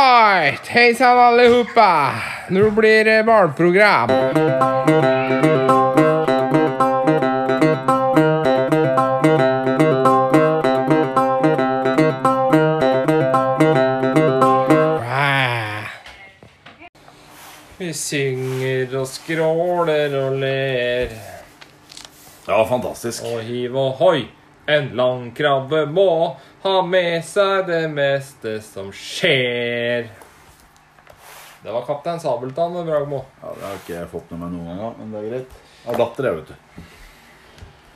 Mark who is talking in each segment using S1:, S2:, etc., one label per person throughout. S1: right. Hei sann, alle hoppa. Nå blir det barneprogram. Ah. Vi synger og skråler og ler.
S2: Ja, fantastisk.
S1: Og hiv og hoi, en landkrabbe må ha med seg det meste som skjer. Det var Kaptein Sabeltann og Bragmo.
S2: Ja, det har ikke jeg fått med meg noen ganger, men det er greit. Jeg har datter, jeg, vet du.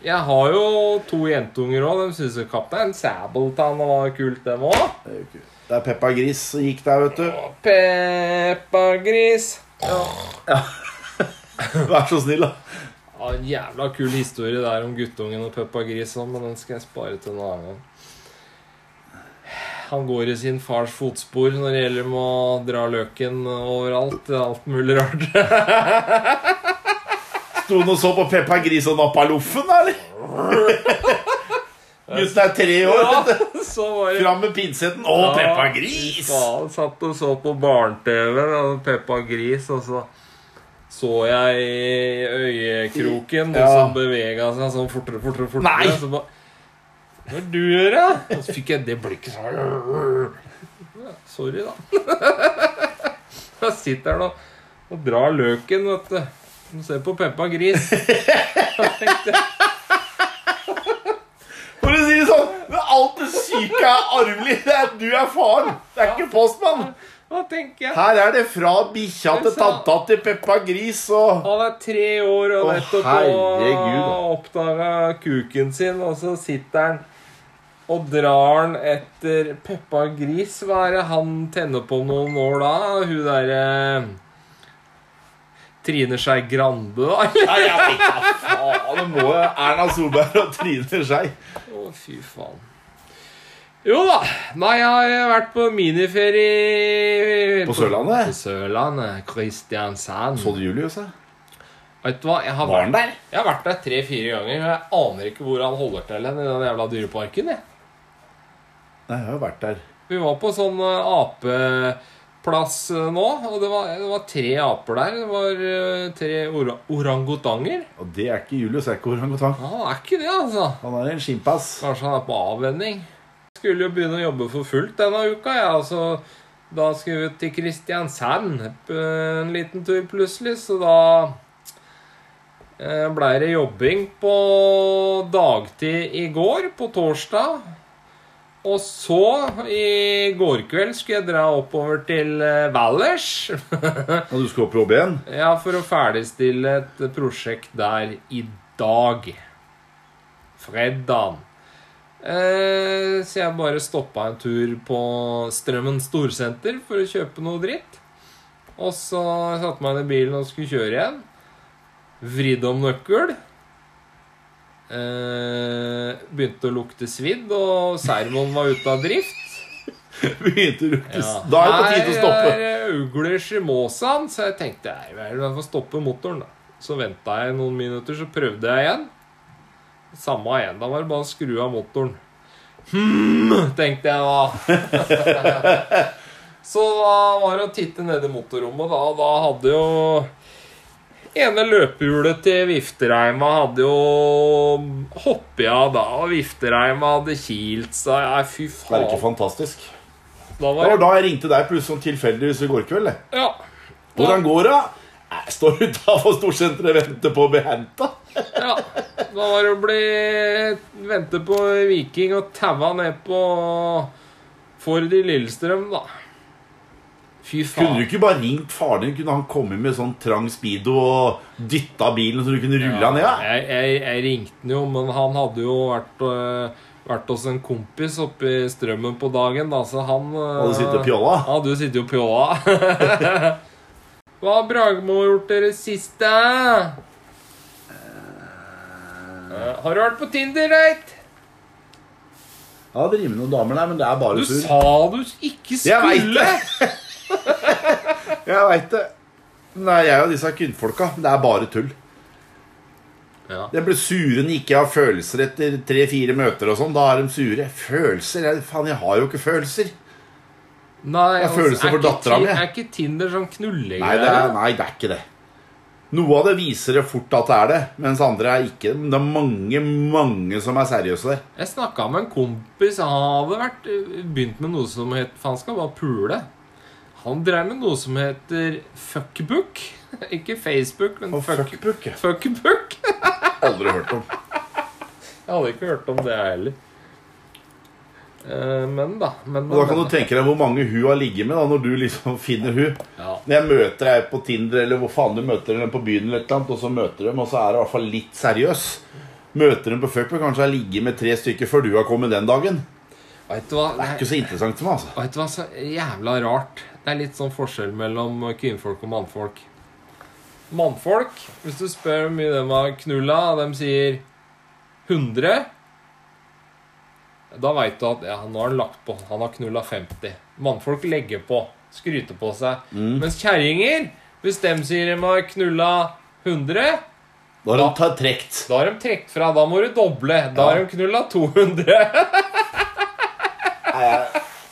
S1: Jeg har jo to jentunger òg. De syns jo Kaptein Sabeltann var kult, dem òg.
S2: Det er, jo ikke... det er Peppa Gris som gikk der, vet du.
S1: Og Peppa Gris.
S2: Vær så snill, da.
S1: Ja, en jævla kul historie der om guttungen og Peppa Gris, sånn, men den skal jeg spare til en annen gang. Han går i sin fars fotspor når det gjelder med å dra løken overalt. Det er Alt mulig rart.
S2: Sto han og så på Peppa Gris og nappa loffen, da, eller? Gutten er tre år. vet du.
S1: Så var det
S2: Fram med pinsetten. Å, Peppa
S1: Ja,
S2: Gris!
S1: faen, satt og så på barne-TV og Peppa Gris, og så så jeg i øyekroken, og så
S2: Ja.
S1: bevega han seg sånn fortere, fortere, fortere.
S2: Nei!
S1: Så ba, Hva er det du gjør, da? Og så fikk jeg det blikket sånn Ja, Sorry, da. Jeg sitter her nå og drar løken, vet du. Du ser på Peppa Gris.
S2: For å si det sånn, det er alt det syke er arvelig. Det er, du er faren. Det er ikke postmann.
S1: Hva tenker jeg?
S2: Her er det fra bikkja til tanta til Peppa Gris og
S1: Han er tre år og
S2: Å,
S1: nettopp
S2: herregud.
S1: oppdaga kuken sin, og så sitter han og drar han etter Peppa Gris. Hva er det han tenner på om noen år da? Hun derre Trine Skei Grande, da?
S2: Nei, jeg vet da faen. Det må jo Erna Solberg og Trine Skei.
S1: Å, fy faen. Jo da. Nei, jeg har eh, vært på miniferie
S2: På Sørlandet?
S1: På Sørlandet. Kristiansand.
S2: Så du Julius, da?
S1: Vet du hva? Jeg har
S2: Var han der?
S1: Jeg har vært der tre-fire ganger, og jeg aner ikke hvor han holder til hen i den jævla dyreparken. Jeg.
S2: Nei, jeg har jo vært der.
S1: Vi var på sånn eh, apeplass eh, nå, og det var, det var tre aper der. Det var eh, tre ora orangutanger.
S2: Og det er ikke Julius, det er ikke orangutang.
S1: Ja, han er ikke det, altså.
S2: Han er en skimpas.
S1: Kanskje han er på avvenning. Skulle jo begynne å jobbe for fullt denne uka, jeg. altså. Da skulle vi ut til Kristiansand p- en liten tur plutselig, så da eh, blei det jobbing på dagtid i går, på torsdag. Og så, i går kveld, skulle jeg dra oppover til eh, Valdres.
S2: Og du skal opp i jobb igjen?
S1: ja, for å ferdigstille et prosjekt der i dag. Fredagen. Eh, så jeg bare stoppa en tur på Strømmen Storsenter for å kjøpe noe dritt. Og så satte jeg meg inn i bilen og skulle kjøre igjen. Vridde om nøkkel. Eh, begynte å lukte svidd, og servoen var ute av drift.
S2: Begynte å lukte s- Da er det på tide å stoppe.
S1: Her er ugler i måsan, så jeg tenkte nei, vel, jeg får stoppe motoren. da. Så venta jeg noen minutter, så prøvde jeg igjen. Samme igjen. Da var det bare å skru av motoren. Hmm, tenkte jeg da. så da var det å titte ned i motorrommet, da. Da hadde jo ene løpehjulet til Viftereima hadde jo hoppet av da, og Viftereima hadde kilt seg. Nei, fy
S2: Det er ikke
S1: faen.
S2: fantastisk.
S1: Da
S2: Det
S1: var
S2: var da jeg ringte deg plutselig sånn tilfeldigvis i går kveld. jeg.
S1: Ja.
S2: Hvordan går det? Nei, Jeg står utafor storsenteret og venter på å bli henta.
S1: Ja, da var det å bli Vente på Viking og taua ned på Ford i Lillestrøm, da. Fy
S2: Kunne du
S1: faen.
S2: ikke bare ringt faren din? Kunne han kommet med sånn trang speedo og dytta bilen så du kunne rulla ned? da?
S1: Jeg, jeg, jeg ringte han jo, men han hadde jo vært, øh, vært hos en kompis oppe i Strømmen på dagen, da, så han øh,
S2: Hadde sittet og pjolla?
S1: Ja, du sitter jo på jåla. Hva har Bragmo gjort dere siste? Eh, har du vært på Tinder, Reit?
S2: Ja, det rimer noen damer der, men det er bare
S1: Du
S2: sur.
S1: sa du ikke
S2: Jeg veit
S1: skulle!
S2: det! jeg veit det. Nei, jeg og disse kvinnfolka. Det er bare tull.
S1: Ja.
S2: De blir sure når de ikke har følelser etter tre-fire møter og sånn. Da er de sure. Følelser? Jeg, faen, jeg har jo ikke følelser.
S1: Nei, altså,
S2: Det er følelser
S1: er
S2: for
S1: ikke
S2: dattera
S1: Ti-
S2: mi.
S1: Er ikke Tinder sånn knullegreier?
S2: Nei det, er, nei, det er ikke det. Noe av det viser det fort at det er det, mens andre er ikke det. Men det er mange, mange som er seriøse der.
S1: Jeg snakka med en kompis. Han hadde vært, eh, begynt med noe som het For han skal bare pule. Han drev med noe som heter fuckbook. Ikke Facebook, men
S2: Og
S1: fuck,
S2: fuckbook, ja.
S1: fuckbook.
S2: Aldri hørt om.
S1: Jeg hadde ikke hørt om det, jeg heller. Eh, Men da. Men
S2: Og da kan du tenke deg hvor mange hun har ligget med, da, når du liksom finner hun.
S1: Ja.
S2: Når jeg møter deg på Tinder eller hvor faen du møter henne på byen, eller et eller annet, og så møter du dem, og så er det i hvert fall litt seriøs. Møter hun på fuckbook, kanskje har ligget med tre stykker før du har kommet den dagen.
S1: Vet du hva?
S2: Det er
S1: Nei,
S2: ikke så interessant for meg, altså.
S1: vet du hva så jævla rart? Det er litt sånn forskjell mellom kvinnfolk og mannfolk. Mannfolk, hvis du spør hvor mye de har knulla, og de sier 100 Da veit du at ja, nå har han lagt på. Han har knulla 50. Mannfolk legger på. Skryter på seg. Mens kjerringer, hvis de sier de har knulla 100
S2: Da har hun tatt trekt.
S1: Da har de trukket fra. Da må du doble. Da har
S2: Ja.
S1: de knulla 200.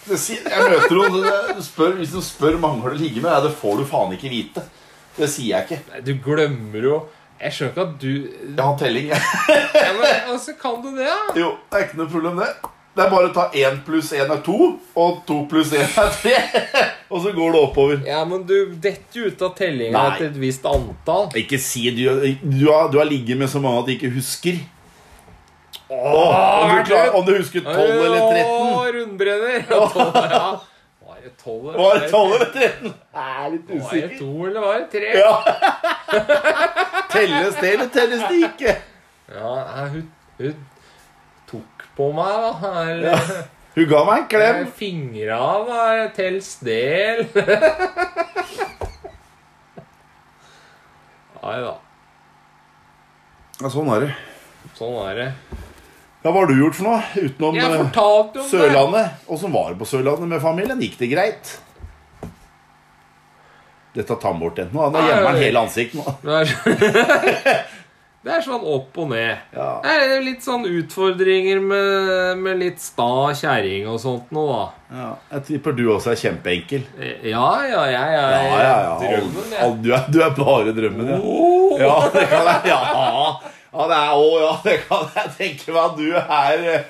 S2: Det sier, jeg møter noen det- det spør, Hvis de spør mange har du ligget med, ja, det får du faen ikke vite. Det sier jeg ikke.
S1: Nei, Du glemmer jo Jeg skjønner ikke at du
S2: Jeg har telling, jeg.
S1: ja, men, altså, Kan du det, da?
S2: Jo, det er ikke noe problem, det. Det er bare å ta én pluss én er to, og to pluss én er tre. Og så går det oppover.
S1: Ja, men du detter jo ut av tellinga
S2: Nei.
S1: etter et visst antall.
S2: Ikke si du, du, har, du har ligget med så mange at du ikke husker. om,
S1: er
S2: du
S1: det-
S2: klarer, om du husker 12 eller 13.
S1: Å, rundbrenner. Ja, 12, ja. Var det 12 eller
S2: Var det 12 eller 13? Jeg er litt
S1: Var det
S2: usikker.
S1: 2 eller var det 3? Ja,
S2: Ja. Telles det, eller telles det ikke?
S1: nei, hun, hun tok på meg, da. Her,
S2: Hun ga meg en klem.
S1: Fingra var tels del. Nei da.
S2: Ja, sånn er det.
S1: Sånn er det.
S2: Ja, Hva har du gjort for noe utenom
S1: Jeg
S2: eh,
S1: fortalte jo om
S2: Sørlandet? Åssen var det på Sørlandet med familien? Gikk det greit? Dette tar han bort enten. Nå gjemmer han hele ansiktet. nå.
S1: det. Det er, det er sånn opp og ned.
S2: Ja.
S1: Det er litt sånn utfordringer med, med litt sta kjerring og sånt nå, da.
S2: Ja. Jeg tipper du også er kjempeenkel.
S1: Ja, ja, jeg er
S2: Ja, ja, ja.
S1: drømmen, jeg.
S2: Al- Du er, du er bare drømmen, ja.
S1: Oh,
S2: Ja, det kan jeg ja. ja, det er å, ja, det kan jeg tenke meg at du er eh,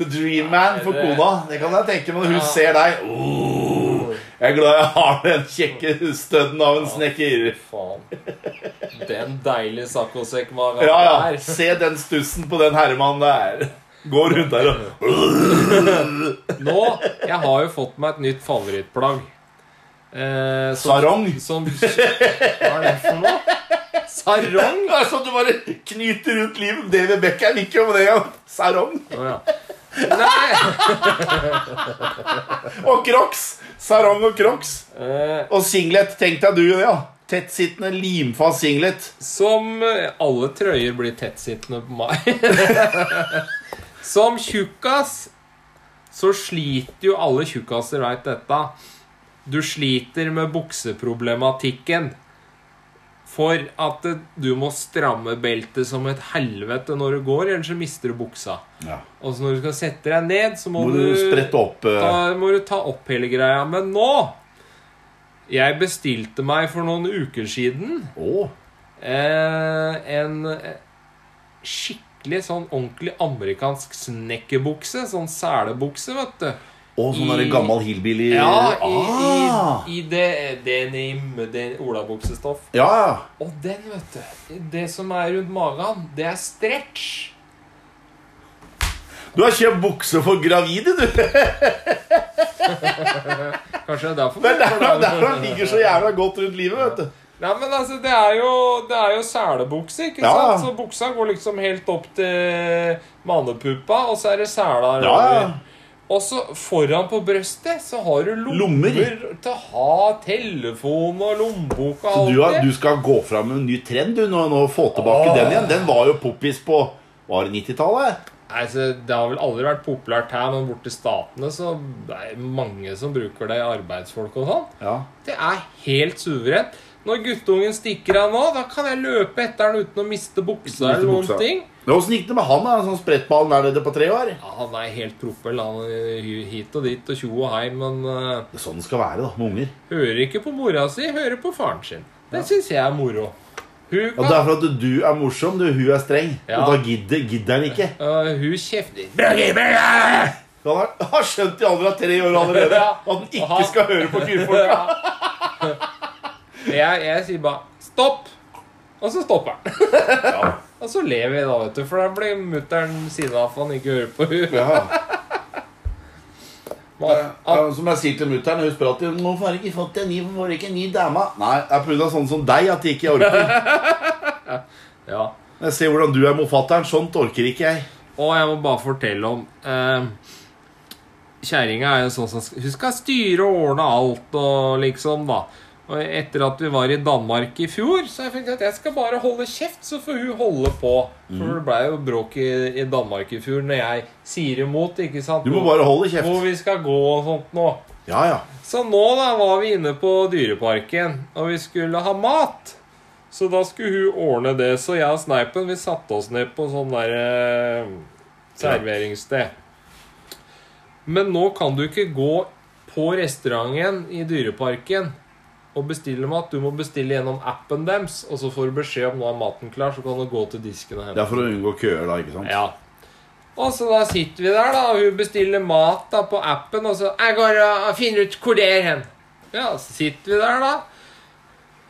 S2: the dream man for
S1: det-
S2: kona. Det kan jeg tenke meg når hun ser deg. Åh, jeg er glad jeg har den kjekke støtten av en snekker.
S1: faen. Den deilige saccosekkmagen
S2: Ja, ja.
S1: der.
S2: Se den stussen på den herremannen der. Går rundt der og
S1: Nå, jeg har jo fått meg et nytt favorittplagg. Eh, som,
S2: Sarong!
S1: som Hva er det for noe? Sarong?
S2: Det er sånn du bare knyter rundt livet. David Beckham gikk jo med det. ja. Sarong
S1: Å, ja. Nei!
S2: og crocs. Sarong og crocs.
S1: Eh,
S2: Og singlet. Tenk deg du, ja. Tettsittende, limfast singlet.
S1: Som eh, alle trøyer blir tettsittende på meg. Som tjukkas så sliter jo alle tjukkaser veit dette. Du sliter med bukseproblematikken. For at eh, du må stramme beltet som et helvete når du går, ellers så mister du buksa.
S2: Ja.
S1: Og så når du skal sette deg ned, så må,
S2: Må du sprette opp eh,
S1: da må du ta opp hele greia. Men nå Jeg bestilte meg for noen uker siden
S2: Å,
S1: Eh, en eh, skikkelig sånn ordentlig amerikansk snekkerbukse. Sånn selebukse, vet du.
S2: å sånn der
S1: I-
S2: gammel hillbilly
S1: Ja, i,
S2: ah.
S1: i, i det denim, den olabuksestoff.
S2: ja, ja.
S1: Og den, vet du. Det som er rundt magen, det er stretch.
S2: Du har kjøpt bukse for gravide, du. Det
S1: Kanskje det er derfor.
S2: er der han- der han ligger så jævla godt rundt livet, vet du.
S1: Nei, men altså, det er jo, det er jo selebukse, ikke
S2: Ja.
S1: sant? Så buksa går liksom helt opp til mannepuppa, og så er det sela
S2: Ja, ja.
S1: Og så foran på brøstet så har du lommer,
S2: Lommer.
S1: til å ha telefon og lommebok og
S2: Så
S1: alt
S2: du, har,
S1: det.
S2: du skal gå fram med en ny trend du, nå, nå og få tilbake
S1: Åh.
S2: den igjen. Den var jo poppis på Var det 90-tallet?
S1: Nei, så det har vel aldri vært populært her, men borte i statene så det er mange som bruker det, arbeidsfolk og sånn.
S2: Ja.
S1: Det er helt suverent. Når guttungen stikker av nå, da kan jeg løpe etter han uten å miste buksa eller noen ting.
S2: Åssen gikk det med han, da? Sånn sprettballen er det på tre år?
S1: Ja, han er helt propell, han eh, hit og dit og tjo og hei, men eh,
S2: Det er sånn det skal være da, med unger.
S1: hører ikke på mora si, hører på faren sin. Det syns jeg er moro. Hun kan
S2: Og det er for at du er morsom, du, hun er streng.
S1: Ja.
S2: Og da gidder, gidder han ikke.
S1: Eh, Hun kjefter Brage, brage!
S2: Han har, har skjønt i alder av tre år allerede
S1: Ja.
S2: at han
S1: Og han-
S2: ikke skal høre på kvinnfolka.
S1: Jeg, jeg sier bare 'stopp', og så stopper han.
S2: Ja.
S1: Og så ler vi, da, vet du, for da blir mutter'n sinna for han ikke hører på hun.
S2: Ja.
S1: Man-
S2: Ja,
S1: at-
S2: men som jeg sier til mutter'n, hun spør alltid 'Hvorfor har du ikke fått deg ny, hvorfor har du ikke en ny dame?' Nei, det er pga. sånne som deg at jeg ikke orker.
S1: Ja.
S2: Jeg ser hvordan du er mot fatter'n. Sånt orker ikke jeg.
S1: Og jeg må bare fortelle om eh, Kjerringa er jo sånn som Hun skal styre og ordne alt og liksom, da. Og etter at vi var i Danmark i fjor, så har jeg funnet at jeg skal bare holde kjeft, så får hun holde på.
S2: Mm.
S1: For det blei jo bråk i, i Danmark i fjor når jeg sier imot, ikke sant?
S2: Du må bare
S1: Hvor
S2: holde kjeft.
S1: vi skal gå og sånt nå.
S2: Ja, ja.
S1: Så nå da var vi inne på dyreparken, og vi skulle ha mat. Så da skulle hun ordne det. Så jeg og Sneipen vi satte oss ned på sånn der eh, serveringssted. Men nå kan du ikke gå på restauranten i dyreparken og bestille mat. Du må bestille gjennom appen deres, og så får du beskjed om nå er maten klar, så kan du gå til disken og hente.
S2: Det er for å unngå køer, da. ikke sant?
S1: Ja. Og så da sitter vi der, da, og hun bestiller mat da på appen, og så Jeg går og finner ut hvor det er hen. Ja, så sitter vi der, da.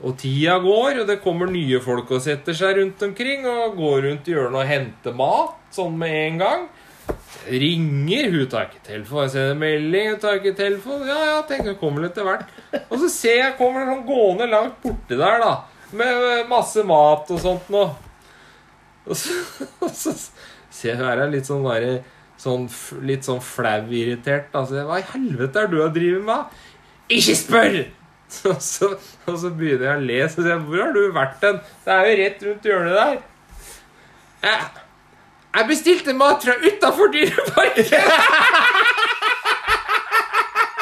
S1: Og tida går, og det kommer nye folk og setter seg rundt omkring og går rundt i hjørnet og henter mat sånn med en gang. Ringer, hun tar ikke telefonen. Jeg sender melding, hun tar ikke telefonen. Ja, ja, tenker hun kommer litt etter hvert. Og så ser jeg kommer det sånn gående langt borti der, da. Med eh, masse mat og sånt noe. Og så, og så ser jeg hun er litt sånn bare sånn, f- Litt sånn flau-irritert. Altså, hva i helvete er det du har drevet med? Ikke spør! Og så, og så begynner jeg å le. Så sier jeg, hvor har du vært hen? Det er jo rett rundt hjørnet der. Jeg, jeg bestilte mat fra utafor dyreparken!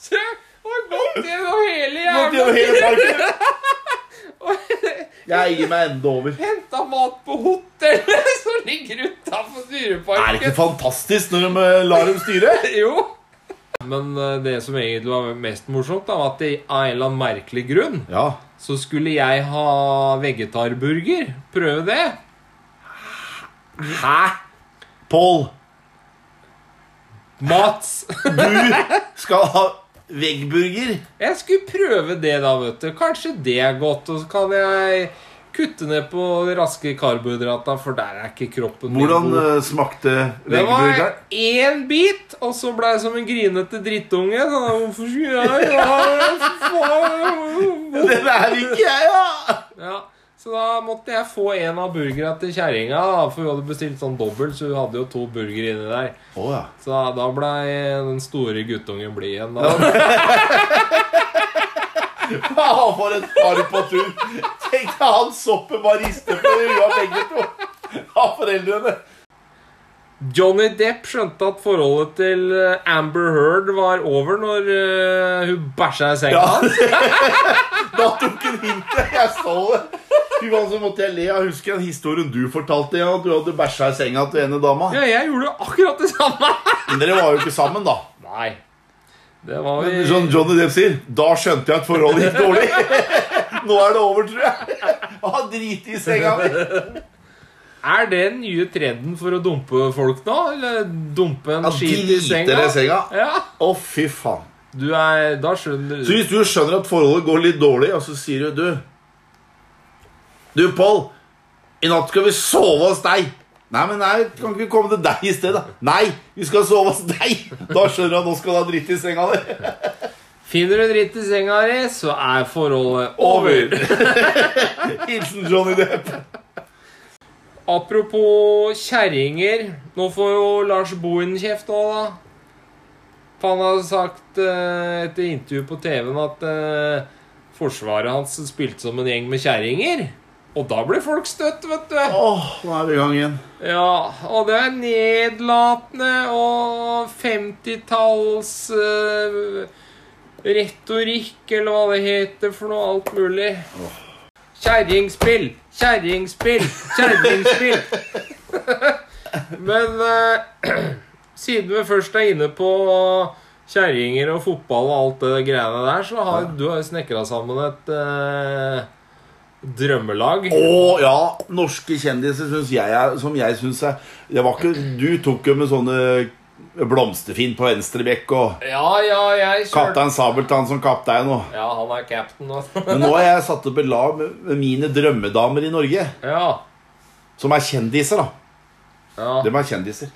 S1: Så jeg har gått gjennom hele
S2: Nå til
S1: jævla
S2: hele parken. Jeg gir meg enda over.
S1: Henta mat på hotellet som ligger utafor
S2: Er det
S1: dyreparken.
S2: ikke fantastisk når de eh, lar dem styre?
S1: Jo. Men eh, det som egentlig var mest morsomt, da, var at i- av en eller annen merkelig grunn
S2: Ja.
S1: så skulle jeg ha vegetarburger. Prøve det. Hæ?
S2: Pål,
S1: Mats!
S2: du skal ha veggburger.
S1: Jeg skulle prøve det, da, vet du. Kanskje det er godt. Og så kan jeg kutte ned på raske karbohydrater, for der er ikke kroppen min
S2: Hvordan
S1: god.
S2: eh, smakte
S1: Det var
S2: veggburgeren?
S1: én bit, og så ble jeg som en grinete drittunge. Sånn, Hvorfor skulle jeg ja, faen,
S2: Det er ikke jeg, da!
S1: ja. Så da måtte jeg få en av burgera til kjerringa, da, for hun hadde bestilt sånn dobbel, så hun hadde jo to burgere inni der.
S2: Å ja.
S1: Så da- da blei den store guttungen blid igjen. Da.
S2: Ja, for et par på tur. Tenk deg han soppen bare rister på i huet begge to. Av foreldrene.
S1: Johnny Depp skjønte at forholdet til eh, Amber Heard var over når eh, hun bæsja i senga
S2: Ja.
S1: hans.
S2: Da tok han hintet. Jeg så det. Fy faen, så måtte jeg le. Jeg husker den historien du fortalte. Ja, at du hadde bæsja i senga til ene dama.
S1: Ja, jeg gjorde jo akkurat det samme.
S2: Men dere var jo ikke sammen, da.
S1: Nei. Det var vi
S2: Men sånn Som Johnny Depp sier, da skjønte jeg at forholdet gikk dårlig. Nå er det over, tror jeg. Han har driti i senga mi.
S1: Er det den nye trenden for å dumpe folk nå? Eller dumpe en
S2: Ja,
S1: skit i senga?
S2: Driter i senga.
S1: Ja.
S2: Å, fy faen.
S1: Du er Da skjønner
S2: Så
S1: du
S2: hvis du skjønner at forholdet går litt dårlig, og så sier du Du, du Pål, i natt skal vi sove hos deg. Nei, men nei, kan ikke vi komme til deg i stedet? Nei, vi skal sove hos deg. Da skjønner du at nå skal du ha dritt i senga di.
S1: Finner du dritt i senga di, så er forholdet over.
S2: Over. Hilsen Johnny Depp.
S1: Apropos kjerringer. Nå får jo Lars Bohin kjeft òg, da. For han har sagt eh, etter intervju på TV-en at eh, forsvaret hans spilte som en gjeng med kjerringer. Og da blir folk støtt, vet du.
S2: Åh, nå er vi i gang igjen.
S1: Ja, og det er nedlatende og 50-talls eh, retorikk eller hva det heter for noe. Alt mulig. Kjerringspill! Kjerringspill! Kjerringspill! Men eh, siden vi først er inne på kjerringer og fotball og alt det greiene der, så har du har jo snekra sammen et eh, drømmelag.
S2: Å ja! Norske kjendiser synes jeg er, som jeg syns er Det var ikke Du tok jo med sånne blomsterfint på venstre bekk og
S1: Ja, ja, jeg kjørte
S2: Kaptein Sabeltann som kaptein og
S1: Ja, han er cap'n nå.
S2: Men nå har jeg satt opp et lag med med mine drømmedamer i Norge.
S1: ja.
S2: Som er kjendiser, da.
S1: ja.
S2: De er kjendiser.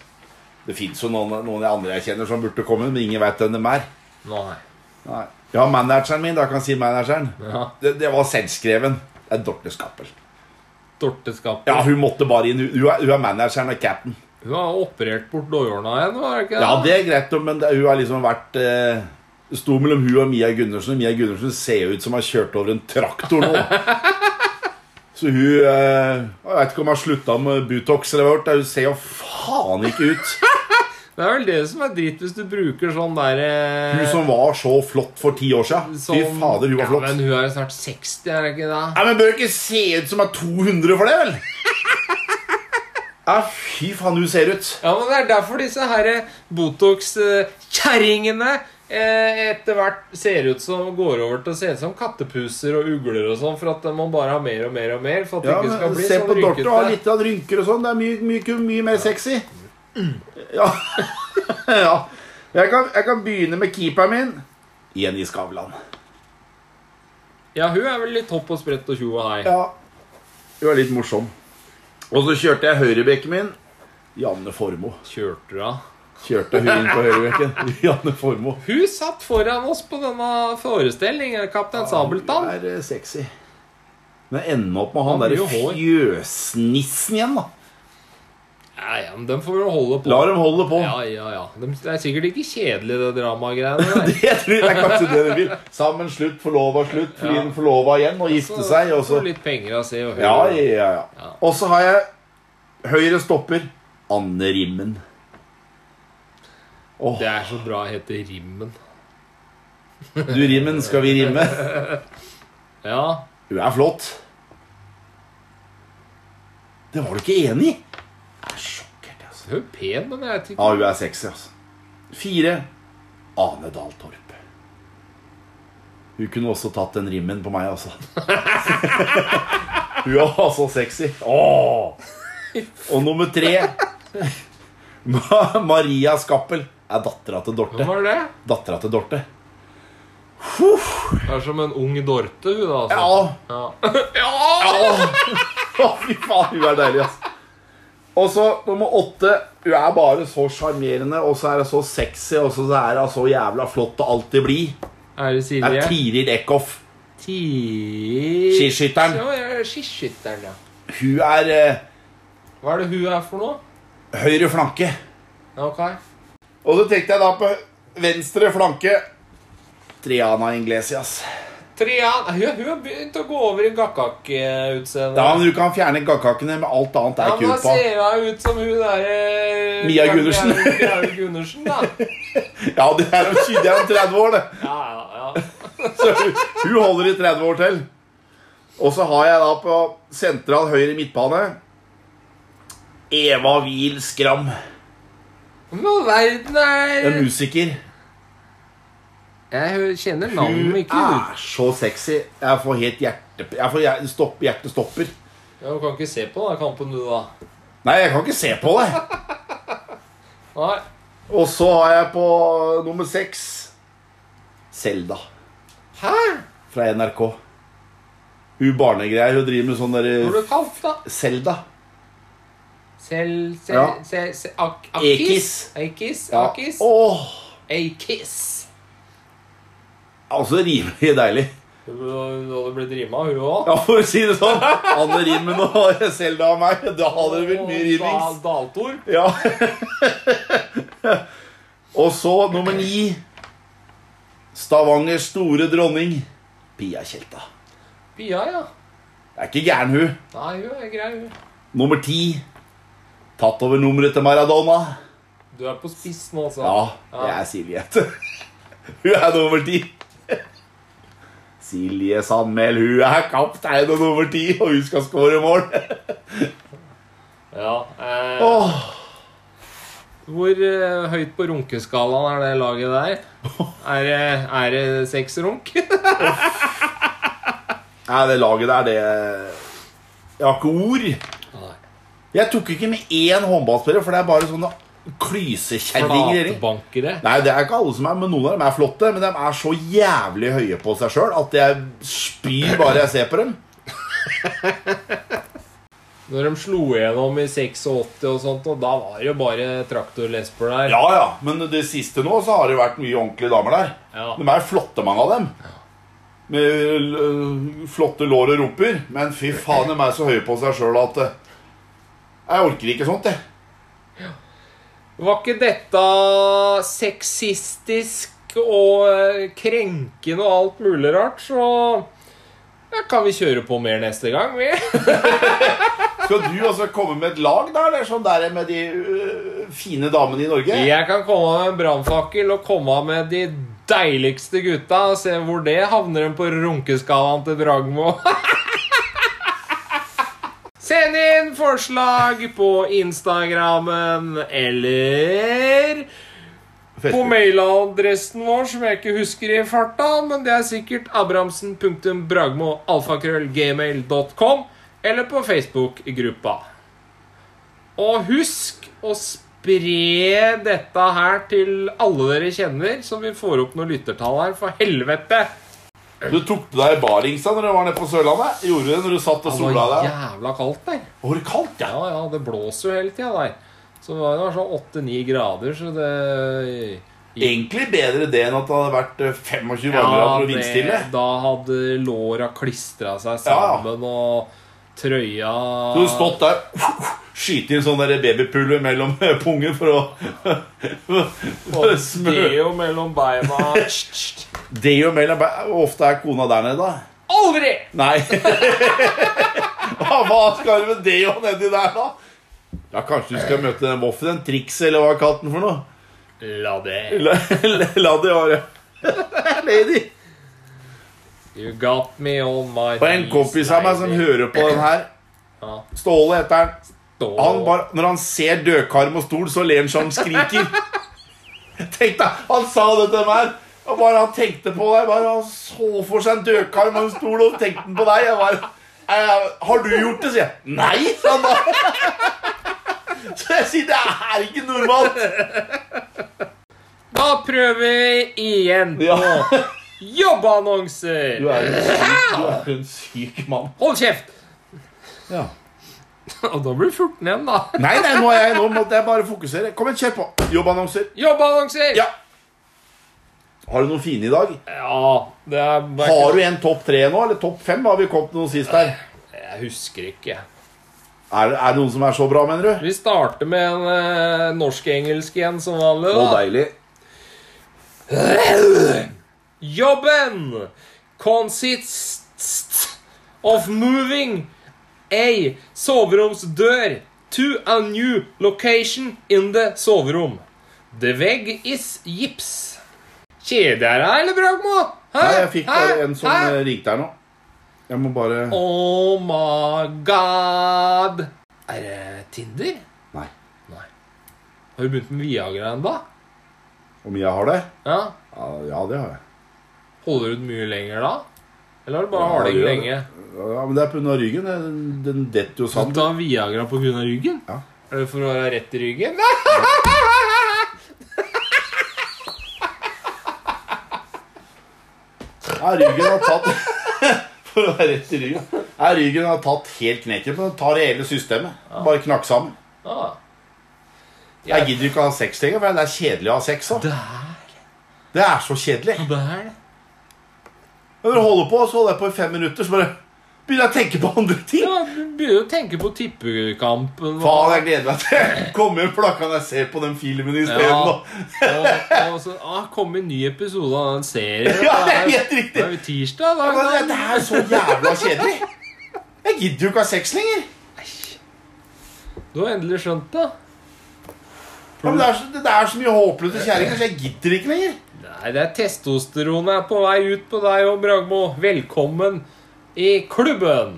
S2: Det fins jo noen, noen andre jeg kjenner som burde komme, men ingen veit hvem de er.
S1: Nei.
S2: Nei. Ja, manageren min, da kan jeg si manageren.
S1: Ja.
S2: Det, det var selvskreven. Det er Dorte Skappel.
S1: Dorteskapet.
S2: Ja, hun måtte bare inn. Hun- Hun er, hun er manageren og cap'n.
S1: Hun har operert bort lårhårene igjen, var det ikke
S2: Ja, det er greit, men det, hun har liksom vært eh, Sto mellom hun og Mia Gundersen. og Mia Gundersen ser ut som har kjørt over en traktor nå. Så hun eh, Jeg vet ikke om hun har slutta med Butox eller hva det er. Hun ser jo faen ikke ut.
S1: Det er vel det som er dritt hvis du bruker sånn der eh,
S2: Hun som var så flott for ti år siden. Fy
S1: sånn-
S2: fader, hun var flott.
S1: Ja, men hun er jo snart 60, er det ikke det?
S2: Nei, men Bør ikke se ut som er 200 for det, vel? Ja, fy faen, hun ser ut.
S1: Ja, men det er derfor disse her eh, Botox-kjerringene eh, etter hvert ser ut som går over til å se ut som kattepuser og ugler og sånn, for at de må bare ha mer og mer og mer for at det
S2: Ja,
S1: ikke skal
S2: men
S1: bli
S2: Se
S1: sånn
S2: på Dorte,
S1: rynkete.
S2: har litt av rynker og sånn. Det er mye, mye, mye mer sexy. Ja. ja. Jeg, kan, jeg kan begynne med keeperen min. Jenny Skavlan.
S1: Ja, hun er vel litt hopp og sprett og tjo og hei.
S2: Ja. Hun er litt morsom. Og så kjørte jeg høyrebekken min. Janne Formoe.
S1: Kjørte du av?
S2: Kjørte hun inn på høyrebekken. Janne Formoe.
S1: Hun satt foran oss på denne forestillingen, kaptein Sabeltann.
S2: Det er eh, sexy. Men jeg ender opp med
S1: Han
S2: han derre
S1: blir jo hår.
S2: fjøsnissen igjen, da.
S1: Ja, ja, men dem får vel holde på.
S2: La dem holde på.
S1: Ja, ja, ja. Dem- Det er sikkert ikke kjedelig, det dramagreiene der.
S2: Det tror jeg er kanskje det de vil. Sammen slutt, forlova slutt, bli
S1: Ja.
S2: ja. forlova igjen og gifte seg. Og så
S1: Få litt penger av se og høre.
S2: ja, ja, ja. Og så har jeg høyre stopper Anne Rimmen. Åh,
S1: Det er så bra å hete Rimmen.
S2: du Rimmen, skal vi rimme?
S1: Ja.
S2: Hun er flott. Det var du ikke enig i? Jeg er sjokkert, altså.
S1: Hun er pen, men jeg vet ikke
S2: Ja, hun er sexy, altså. Fire Ane Dahl Torp. Hun kunne også tatt den rimmen på meg, altså. hun er altså sexy. Åh! Og nummer tre Ma- Maria Skappel er dattera til Dorte.
S1: Hvem var det?
S2: Dattera til Dorte.
S1: Det er som en ung Dorte, hun da.
S2: Ja!
S1: Altså. Ja. ja.
S2: Åh! Å, Fy faen, hun er deilig, altså. Og så nummer åtte. Hun er bare så sjarmerende, og så er hun så sexy, og så er hun så jævla flott og alltid blid.
S1: Er det
S2: Det
S1: Silje?
S2: er Tiril Eckhoff.
S1: Ti...
S2: Skiskytteren.
S1: Ja, ja, skiskytteren, ja.
S2: Hun er eh,
S1: Hva er det hun er for noe?
S2: høyre flanke.
S1: Ja, Ok.
S2: Og så tenkte jeg da på venstre flanke. Triana Inglesias.
S1: Trian Hun hun har begynt å gå over i gakkak-utseendet.
S2: Da men Du kan fjerne gaggakene, men alt annet er
S1: Ja, men da
S2: ikke ut på.
S1: ser hun ut som hun eh, derre
S2: Mia Gundersen.
S1: Gundersen, da.
S2: Ja, det er om det er om 30 år, det.
S1: Ja, ja, ja.
S2: Så hun, hun holder i 30 år til. Og så har jeg da på sentral høyre midtbane Eva Wiel Skram.
S1: Men all verden
S2: En
S1: er
S2: musiker.
S1: Jeg hø- kjenner navnet,
S2: Hun
S1: men ikke ut.
S2: er så sexy. Jeg får helt hjerte... Jeg får hjerte- stopp, hjertestopper.
S1: Ja, du kan ikke se på den kampen, du, da.
S2: Nei, jeg kan ikke se på det.
S1: Nei.
S2: Og så har jeg på nummer seks Selda
S1: Hæ?
S2: fra NRK. Hun barnegreier. Hun driver med sånn
S1: Hvor
S2: derre
S1: du kalt, da?
S2: Selda.
S1: Sel... Sel...
S2: Ja.
S1: Sel... sel ak akis?
S2: Ekis.
S1: Akis?
S2: Ja.
S1: Akis?
S2: Åh,
S1: Akis.
S2: altså rimelig deilig.
S1: Hun hun hadde blitt rima, hun òg.
S2: Ja, for å si det sånn. Anne Rimmen og Selda og meg. Da hadde det blitt mye rimings.
S1: Daltor.
S2: Ja. Og så nummer ni Stavangers store dronning Pia Tjelta.
S1: Pia, ja.
S2: Det er ikke gæren, hun.
S1: Nei, hun er grei, hun.
S2: Nummer ti Tatt over nummeret til Maradona.
S1: Du er på spiss nå, altså.
S2: Ja, jeg er Silje. Hun er nummer ti. Silje Sandmæl, hun er kaptein og nummer ti, og hun skal skåre mål!
S1: Ja, eh,
S2: Åh,
S1: Hvor eh, høyt på runkeskalaen er det laget der? Er det, er det seks runk?
S2: Nei, det laget der, det Jeg har ikke ord. Jeg tok ikke med én håndballspiller, for det er bare sånne klysekjerringer. Erik.
S1: Flatebankere.
S2: Nei, det er ikke alle som er, men noen av dem er flotte. Men de er så jævlig høye på seg sjøl at jeg spyr bare jeg ser på dem.
S1: Når de slo igjennom i 86 og sånt, og da var det jo bare traktorlesper der.
S2: Ja, ja, men det siste nå så har det vært mye ordentlige damer der.
S1: Ja.
S2: De er flotte, mange av dem. Med øh, flotte lår og rumper. Men fy faen, de er så høye på seg sjøl at øh, Jeg orker ikke sånt, jeg.
S1: Var ikke dette sexistisk og eh, krenkende og alt mulig rart, så ja, kan vi kjøre på mer neste gang, vi.
S2: Skal du altså komme med et lag, da? Eller sånn der med de øh, fine damene i Norge?
S1: Jeg kan komme med en brannfakkel og komme av med de deiligste gutta og se hvor det havner dem på runkeskalaen til Dragmo. Send inn forslag på Instagrammen eller på
S2: Facebook.
S1: mailadressen vår, som jeg ikke husker i farta, men det er sikkert abrahamsen.bragmo.alfakrøllgmail.com, eller på Facebook-gruppa. Og husk å spre dette her til alle dere kjenner, så vi får opp noen lyttertall her, for helvete!
S2: Du tok på deg baringsa når du var nede på Sørlandet? Gjorde du det når du satt og
S1: Det
S2: sola
S1: var
S2: deg?
S1: jævla kaldt der.
S2: Var det kaldt, ja?
S1: Ja, ja, det blåser jo hele tida der. Så det var sånn åtte-ni grader, så det
S2: Egentlig bedre det enn at det hadde vært øh, 25 varmegrader
S1: Ja,
S2: og vindstille.
S1: det- Da hadde låra klistra seg
S2: Ja.
S1: sammen, og trøya
S2: Du har stått der Skyte inn sånn der babypulver mellom pungen for å, for å
S1: og
S2: smøre
S1: deo mellom beina
S2: Det gjør mellom bæ- og Ofte er kona der nede, da.
S1: Aldri!
S2: Nei. Ja, Hva skal du med det og nedi der, da? Ja, Kanskje du skal møte den voffen, en triks, eller hva er katten for noe?
S1: La det
S2: La, la det være. Lady.
S1: You got me on my
S2: Og en kompis av meg som hører på den her,
S1: Ja.
S2: Ståle heter han. Han
S1: Han
S2: bare, når han ser dødkarm og stol, så ler han så han skriker. Tenk deg, Han sa det til meg. her, Og bare Han tenkte på deg. bare Han så for seg en dødkarm og en stol, og tenkte han på deg. Jeg bare, «Eh, Har du gjort det? sier jeg. Nei, sa han da. Så jeg sier det er ikke normalt.
S1: Da prøver vi igjen på
S2: Ja.
S1: jobbannonser!
S2: Du er en syk, du er en syk mann.
S1: Hold kjeft!
S2: Ja.
S1: Og da blir det 14 igjen, da.
S2: Nei, nei, nå, er jeg, nå måtte jeg bare fokusere. Kom igjen, kjør på. Jobbannonser.
S1: Jobbannonser!
S2: Ja. Har du noen fine i dag?
S1: Ja, det er bare
S2: Har du en topp tre nå, eller topp fem? Har vi kommet til noe sist her?
S1: Jeg husker ikke.
S2: Er, er det noen som er så bra, mener du?
S1: Vi starter med en eh, norsk-engelsk igjen, som vanlig.
S2: Å,
S1: da.
S2: deilig.
S1: Jobben consists of moving a soveromsdør to a new location in the soverom. The vegg is gips. Kjede er her, eller Bragmo? Hæ?
S2: Nei, jeg fikk bare en som
S1: Hæ?
S2: eh, ringte her nå. Jeg må bare
S1: Oh my god. Er det Tinder?
S2: Nei.
S1: Nei. Har du begynt med Viagra ennå?
S2: Om jeg har det?
S1: Ja.
S2: Ja, ja, det har jeg.
S1: Holder du ut mye lenger da? Eller har du bare
S2: Ja,
S1: harding
S2: jeg gjør
S1: lenge?
S2: Ja, men det er pga. ryggen. Den- Den detter jo
S1: Du
S2: sammen.
S1: tar Viagra på grunn av ryggen?
S2: Ja.
S1: Er det for å være rett i ryggen?
S2: Nei, ryggen har tatt For å være rett i ryggen. Nei, ryggen har tatt helt knekken. men Den tar hele systemet. Bare knakk sammen.
S1: Ah.
S2: Jeg gidder ikke å ha sex lenger, for det er kjedelig å ha sex. Da.
S1: Det er
S2: Det er så kjedelig.
S1: det er det.
S2: Når du holder på, så holder jeg på i fem minutter, så bare begynner jeg å tenke på andre ting.
S1: Ja, du begynner å tenke på tippekampen og,
S2: Faen, jeg gleder meg til jeg kommer hjem, for da kan jeg se på den filmen
S1: Ja.
S2: isteden.
S1: og, og så ah, kom en ny episode av den serien.
S2: Ja, det er
S1: Da
S2: helt riktig.
S1: da er vi tirsdag, da.
S2: Ja. Det er så jævla kjedelig. Jeg gidder jo ikke ha sex lenger.
S1: Du har endelig skjønt det.
S2: Ja, men det, er så, det er så mye håpløse kjerringer, så jeg gidder ikke lenger.
S1: Det Nei, det er testosteronet er på vei ut på deg òg, Bragmo. Velkommen i klubben!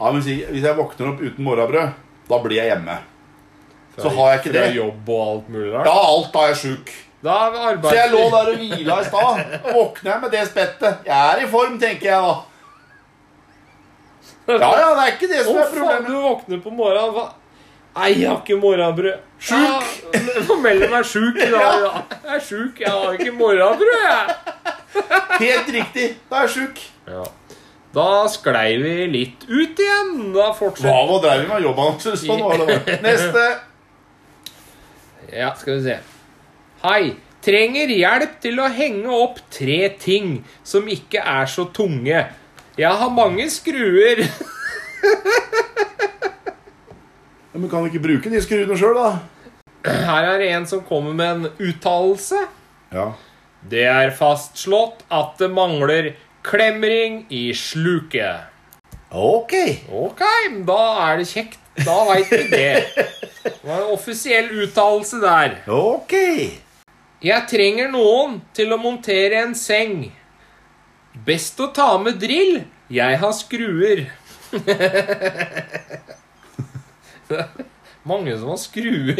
S2: Ja, men si- Hvis jeg våkner opp uten morrabrød, da blir jeg hjemme. Så har jeg ikke
S1: Fra
S2: det.
S1: jobb og alt mulig rart.
S2: Ja, alt da er jeg sjuk.
S1: Da er vi
S2: Så jeg lå
S1: arbeidsliv.
S2: der og hvila i stad. Våkner jeg med det spettet. Jeg er i form, tenker jeg da. Ja, ja, det er ikke det
S1: Å,
S2: som er
S1: faen, du
S2: problemet.
S1: våkner på morgenen. Hva? Nei, jeg har ikke morgenbrød.
S2: Sjuk!
S1: Ja, Nå melder jeg meg sjuk i dag. da. Jeg er sjuk. Jeg har ikke morgenbrød, jeg.
S2: Helt riktig. Da er jeg sjuk.
S1: Ja. Da sklei vi litt ut igjen. Da fortsetter
S2: Bravo, dreiv vi med jobben hans. Sånn var det. bare. Neste.
S1: Ja, skal vi se. Hei. Trenger hjelp til å henge opp tre ting som ikke er så tunge. Jeg har mange skruer.
S2: Ja, Men kan du ikke bruke de skruene sjøl, da?
S1: Her er det en som kommer med en uttalelse.
S2: Ja.
S1: Det er fastslått at det mangler klemring i sluket.
S2: Ok.
S1: Ok, men da er det kjekt. Da veit vi det. Det var en offisiell uttalelse der.
S2: Ok.
S1: Jeg trenger noen til å montere en seng. Best å ta med drill. Jeg har skruer. Mange som har skruer.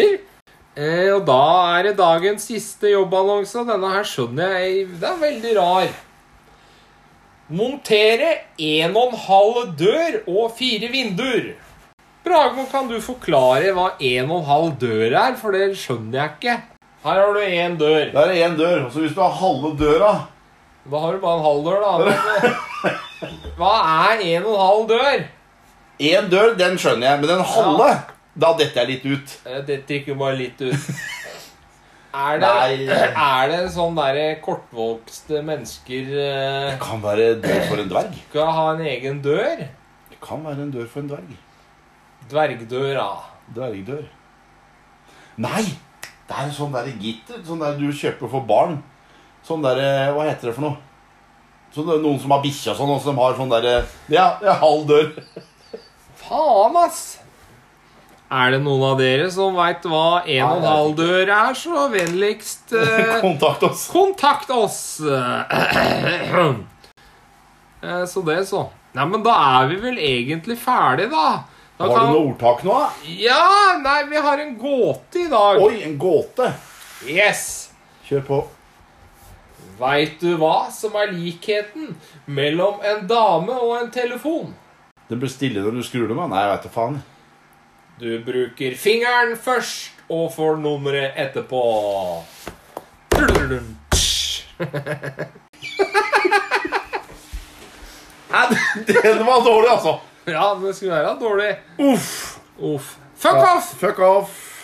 S1: Eh, og da er det dagens siste jobbannonse. og Denne her skjønner jeg Det er veldig rar. Montere en og en halv dør og fire vinduer. Bragmo, kan du forklare hva en og en halv dør er? For det skjønner jeg ikke. Her har du én dør.
S2: Da er det én dør. Og så hvis du har halve døra
S1: Da har du bare en halv dør, da. Hva er en og en halv dør?
S2: Én dør, den skjønner jeg, men den halve Da detter jeg litt ut.
S1: Eh, Det drikker bare litt ut. Er det,
S2: Nei.
S1: er det sånn derre kortvokste mennesker eh,
S2: Kan være en dør for en dverg.
S1: skal ha en egen dør?
S2: Det kan være en dør for en dverg.
S1: Dvergdøra.
S2: Dvergdør. Nei! Det er en sånn derre gitter. Sånn der du kjøper for barn. Sånn derre Hva heter det for noe? Sånn der, Noen som har bikkje og sånn, og som har sånn derre Ja, det er halv dør.
S1: Faen, ass! Er det noen av dere som veit hva en og en halv dør er, så vennligst eh,
S2: Kontakt oss.
S1: Kontakt oss! Eh, Så det, så. Nei, men da er vi vel egentlig ferdig, da. da
S2: Har du noe ordtak nå? da?
S1: Ja! Nei, vi har en gåte i dag.
S2: Oi, en gåte.
S1: Yes!
S2: Kjør på.
S1: Veit du hva som er likheten mellom en dame og en telefon?
S2: Den blir stille når du skrur dem av. Nei, jeg veit da faen.
S1: Du bruker fingeren først og får nummeret etterpå. Trudududum.
S2: Den var dårlig, altså.
S1: Ja, det skulle være dårlig.
S2: Uff.
S1: Uff. Fuck off!
S2: Fuck off.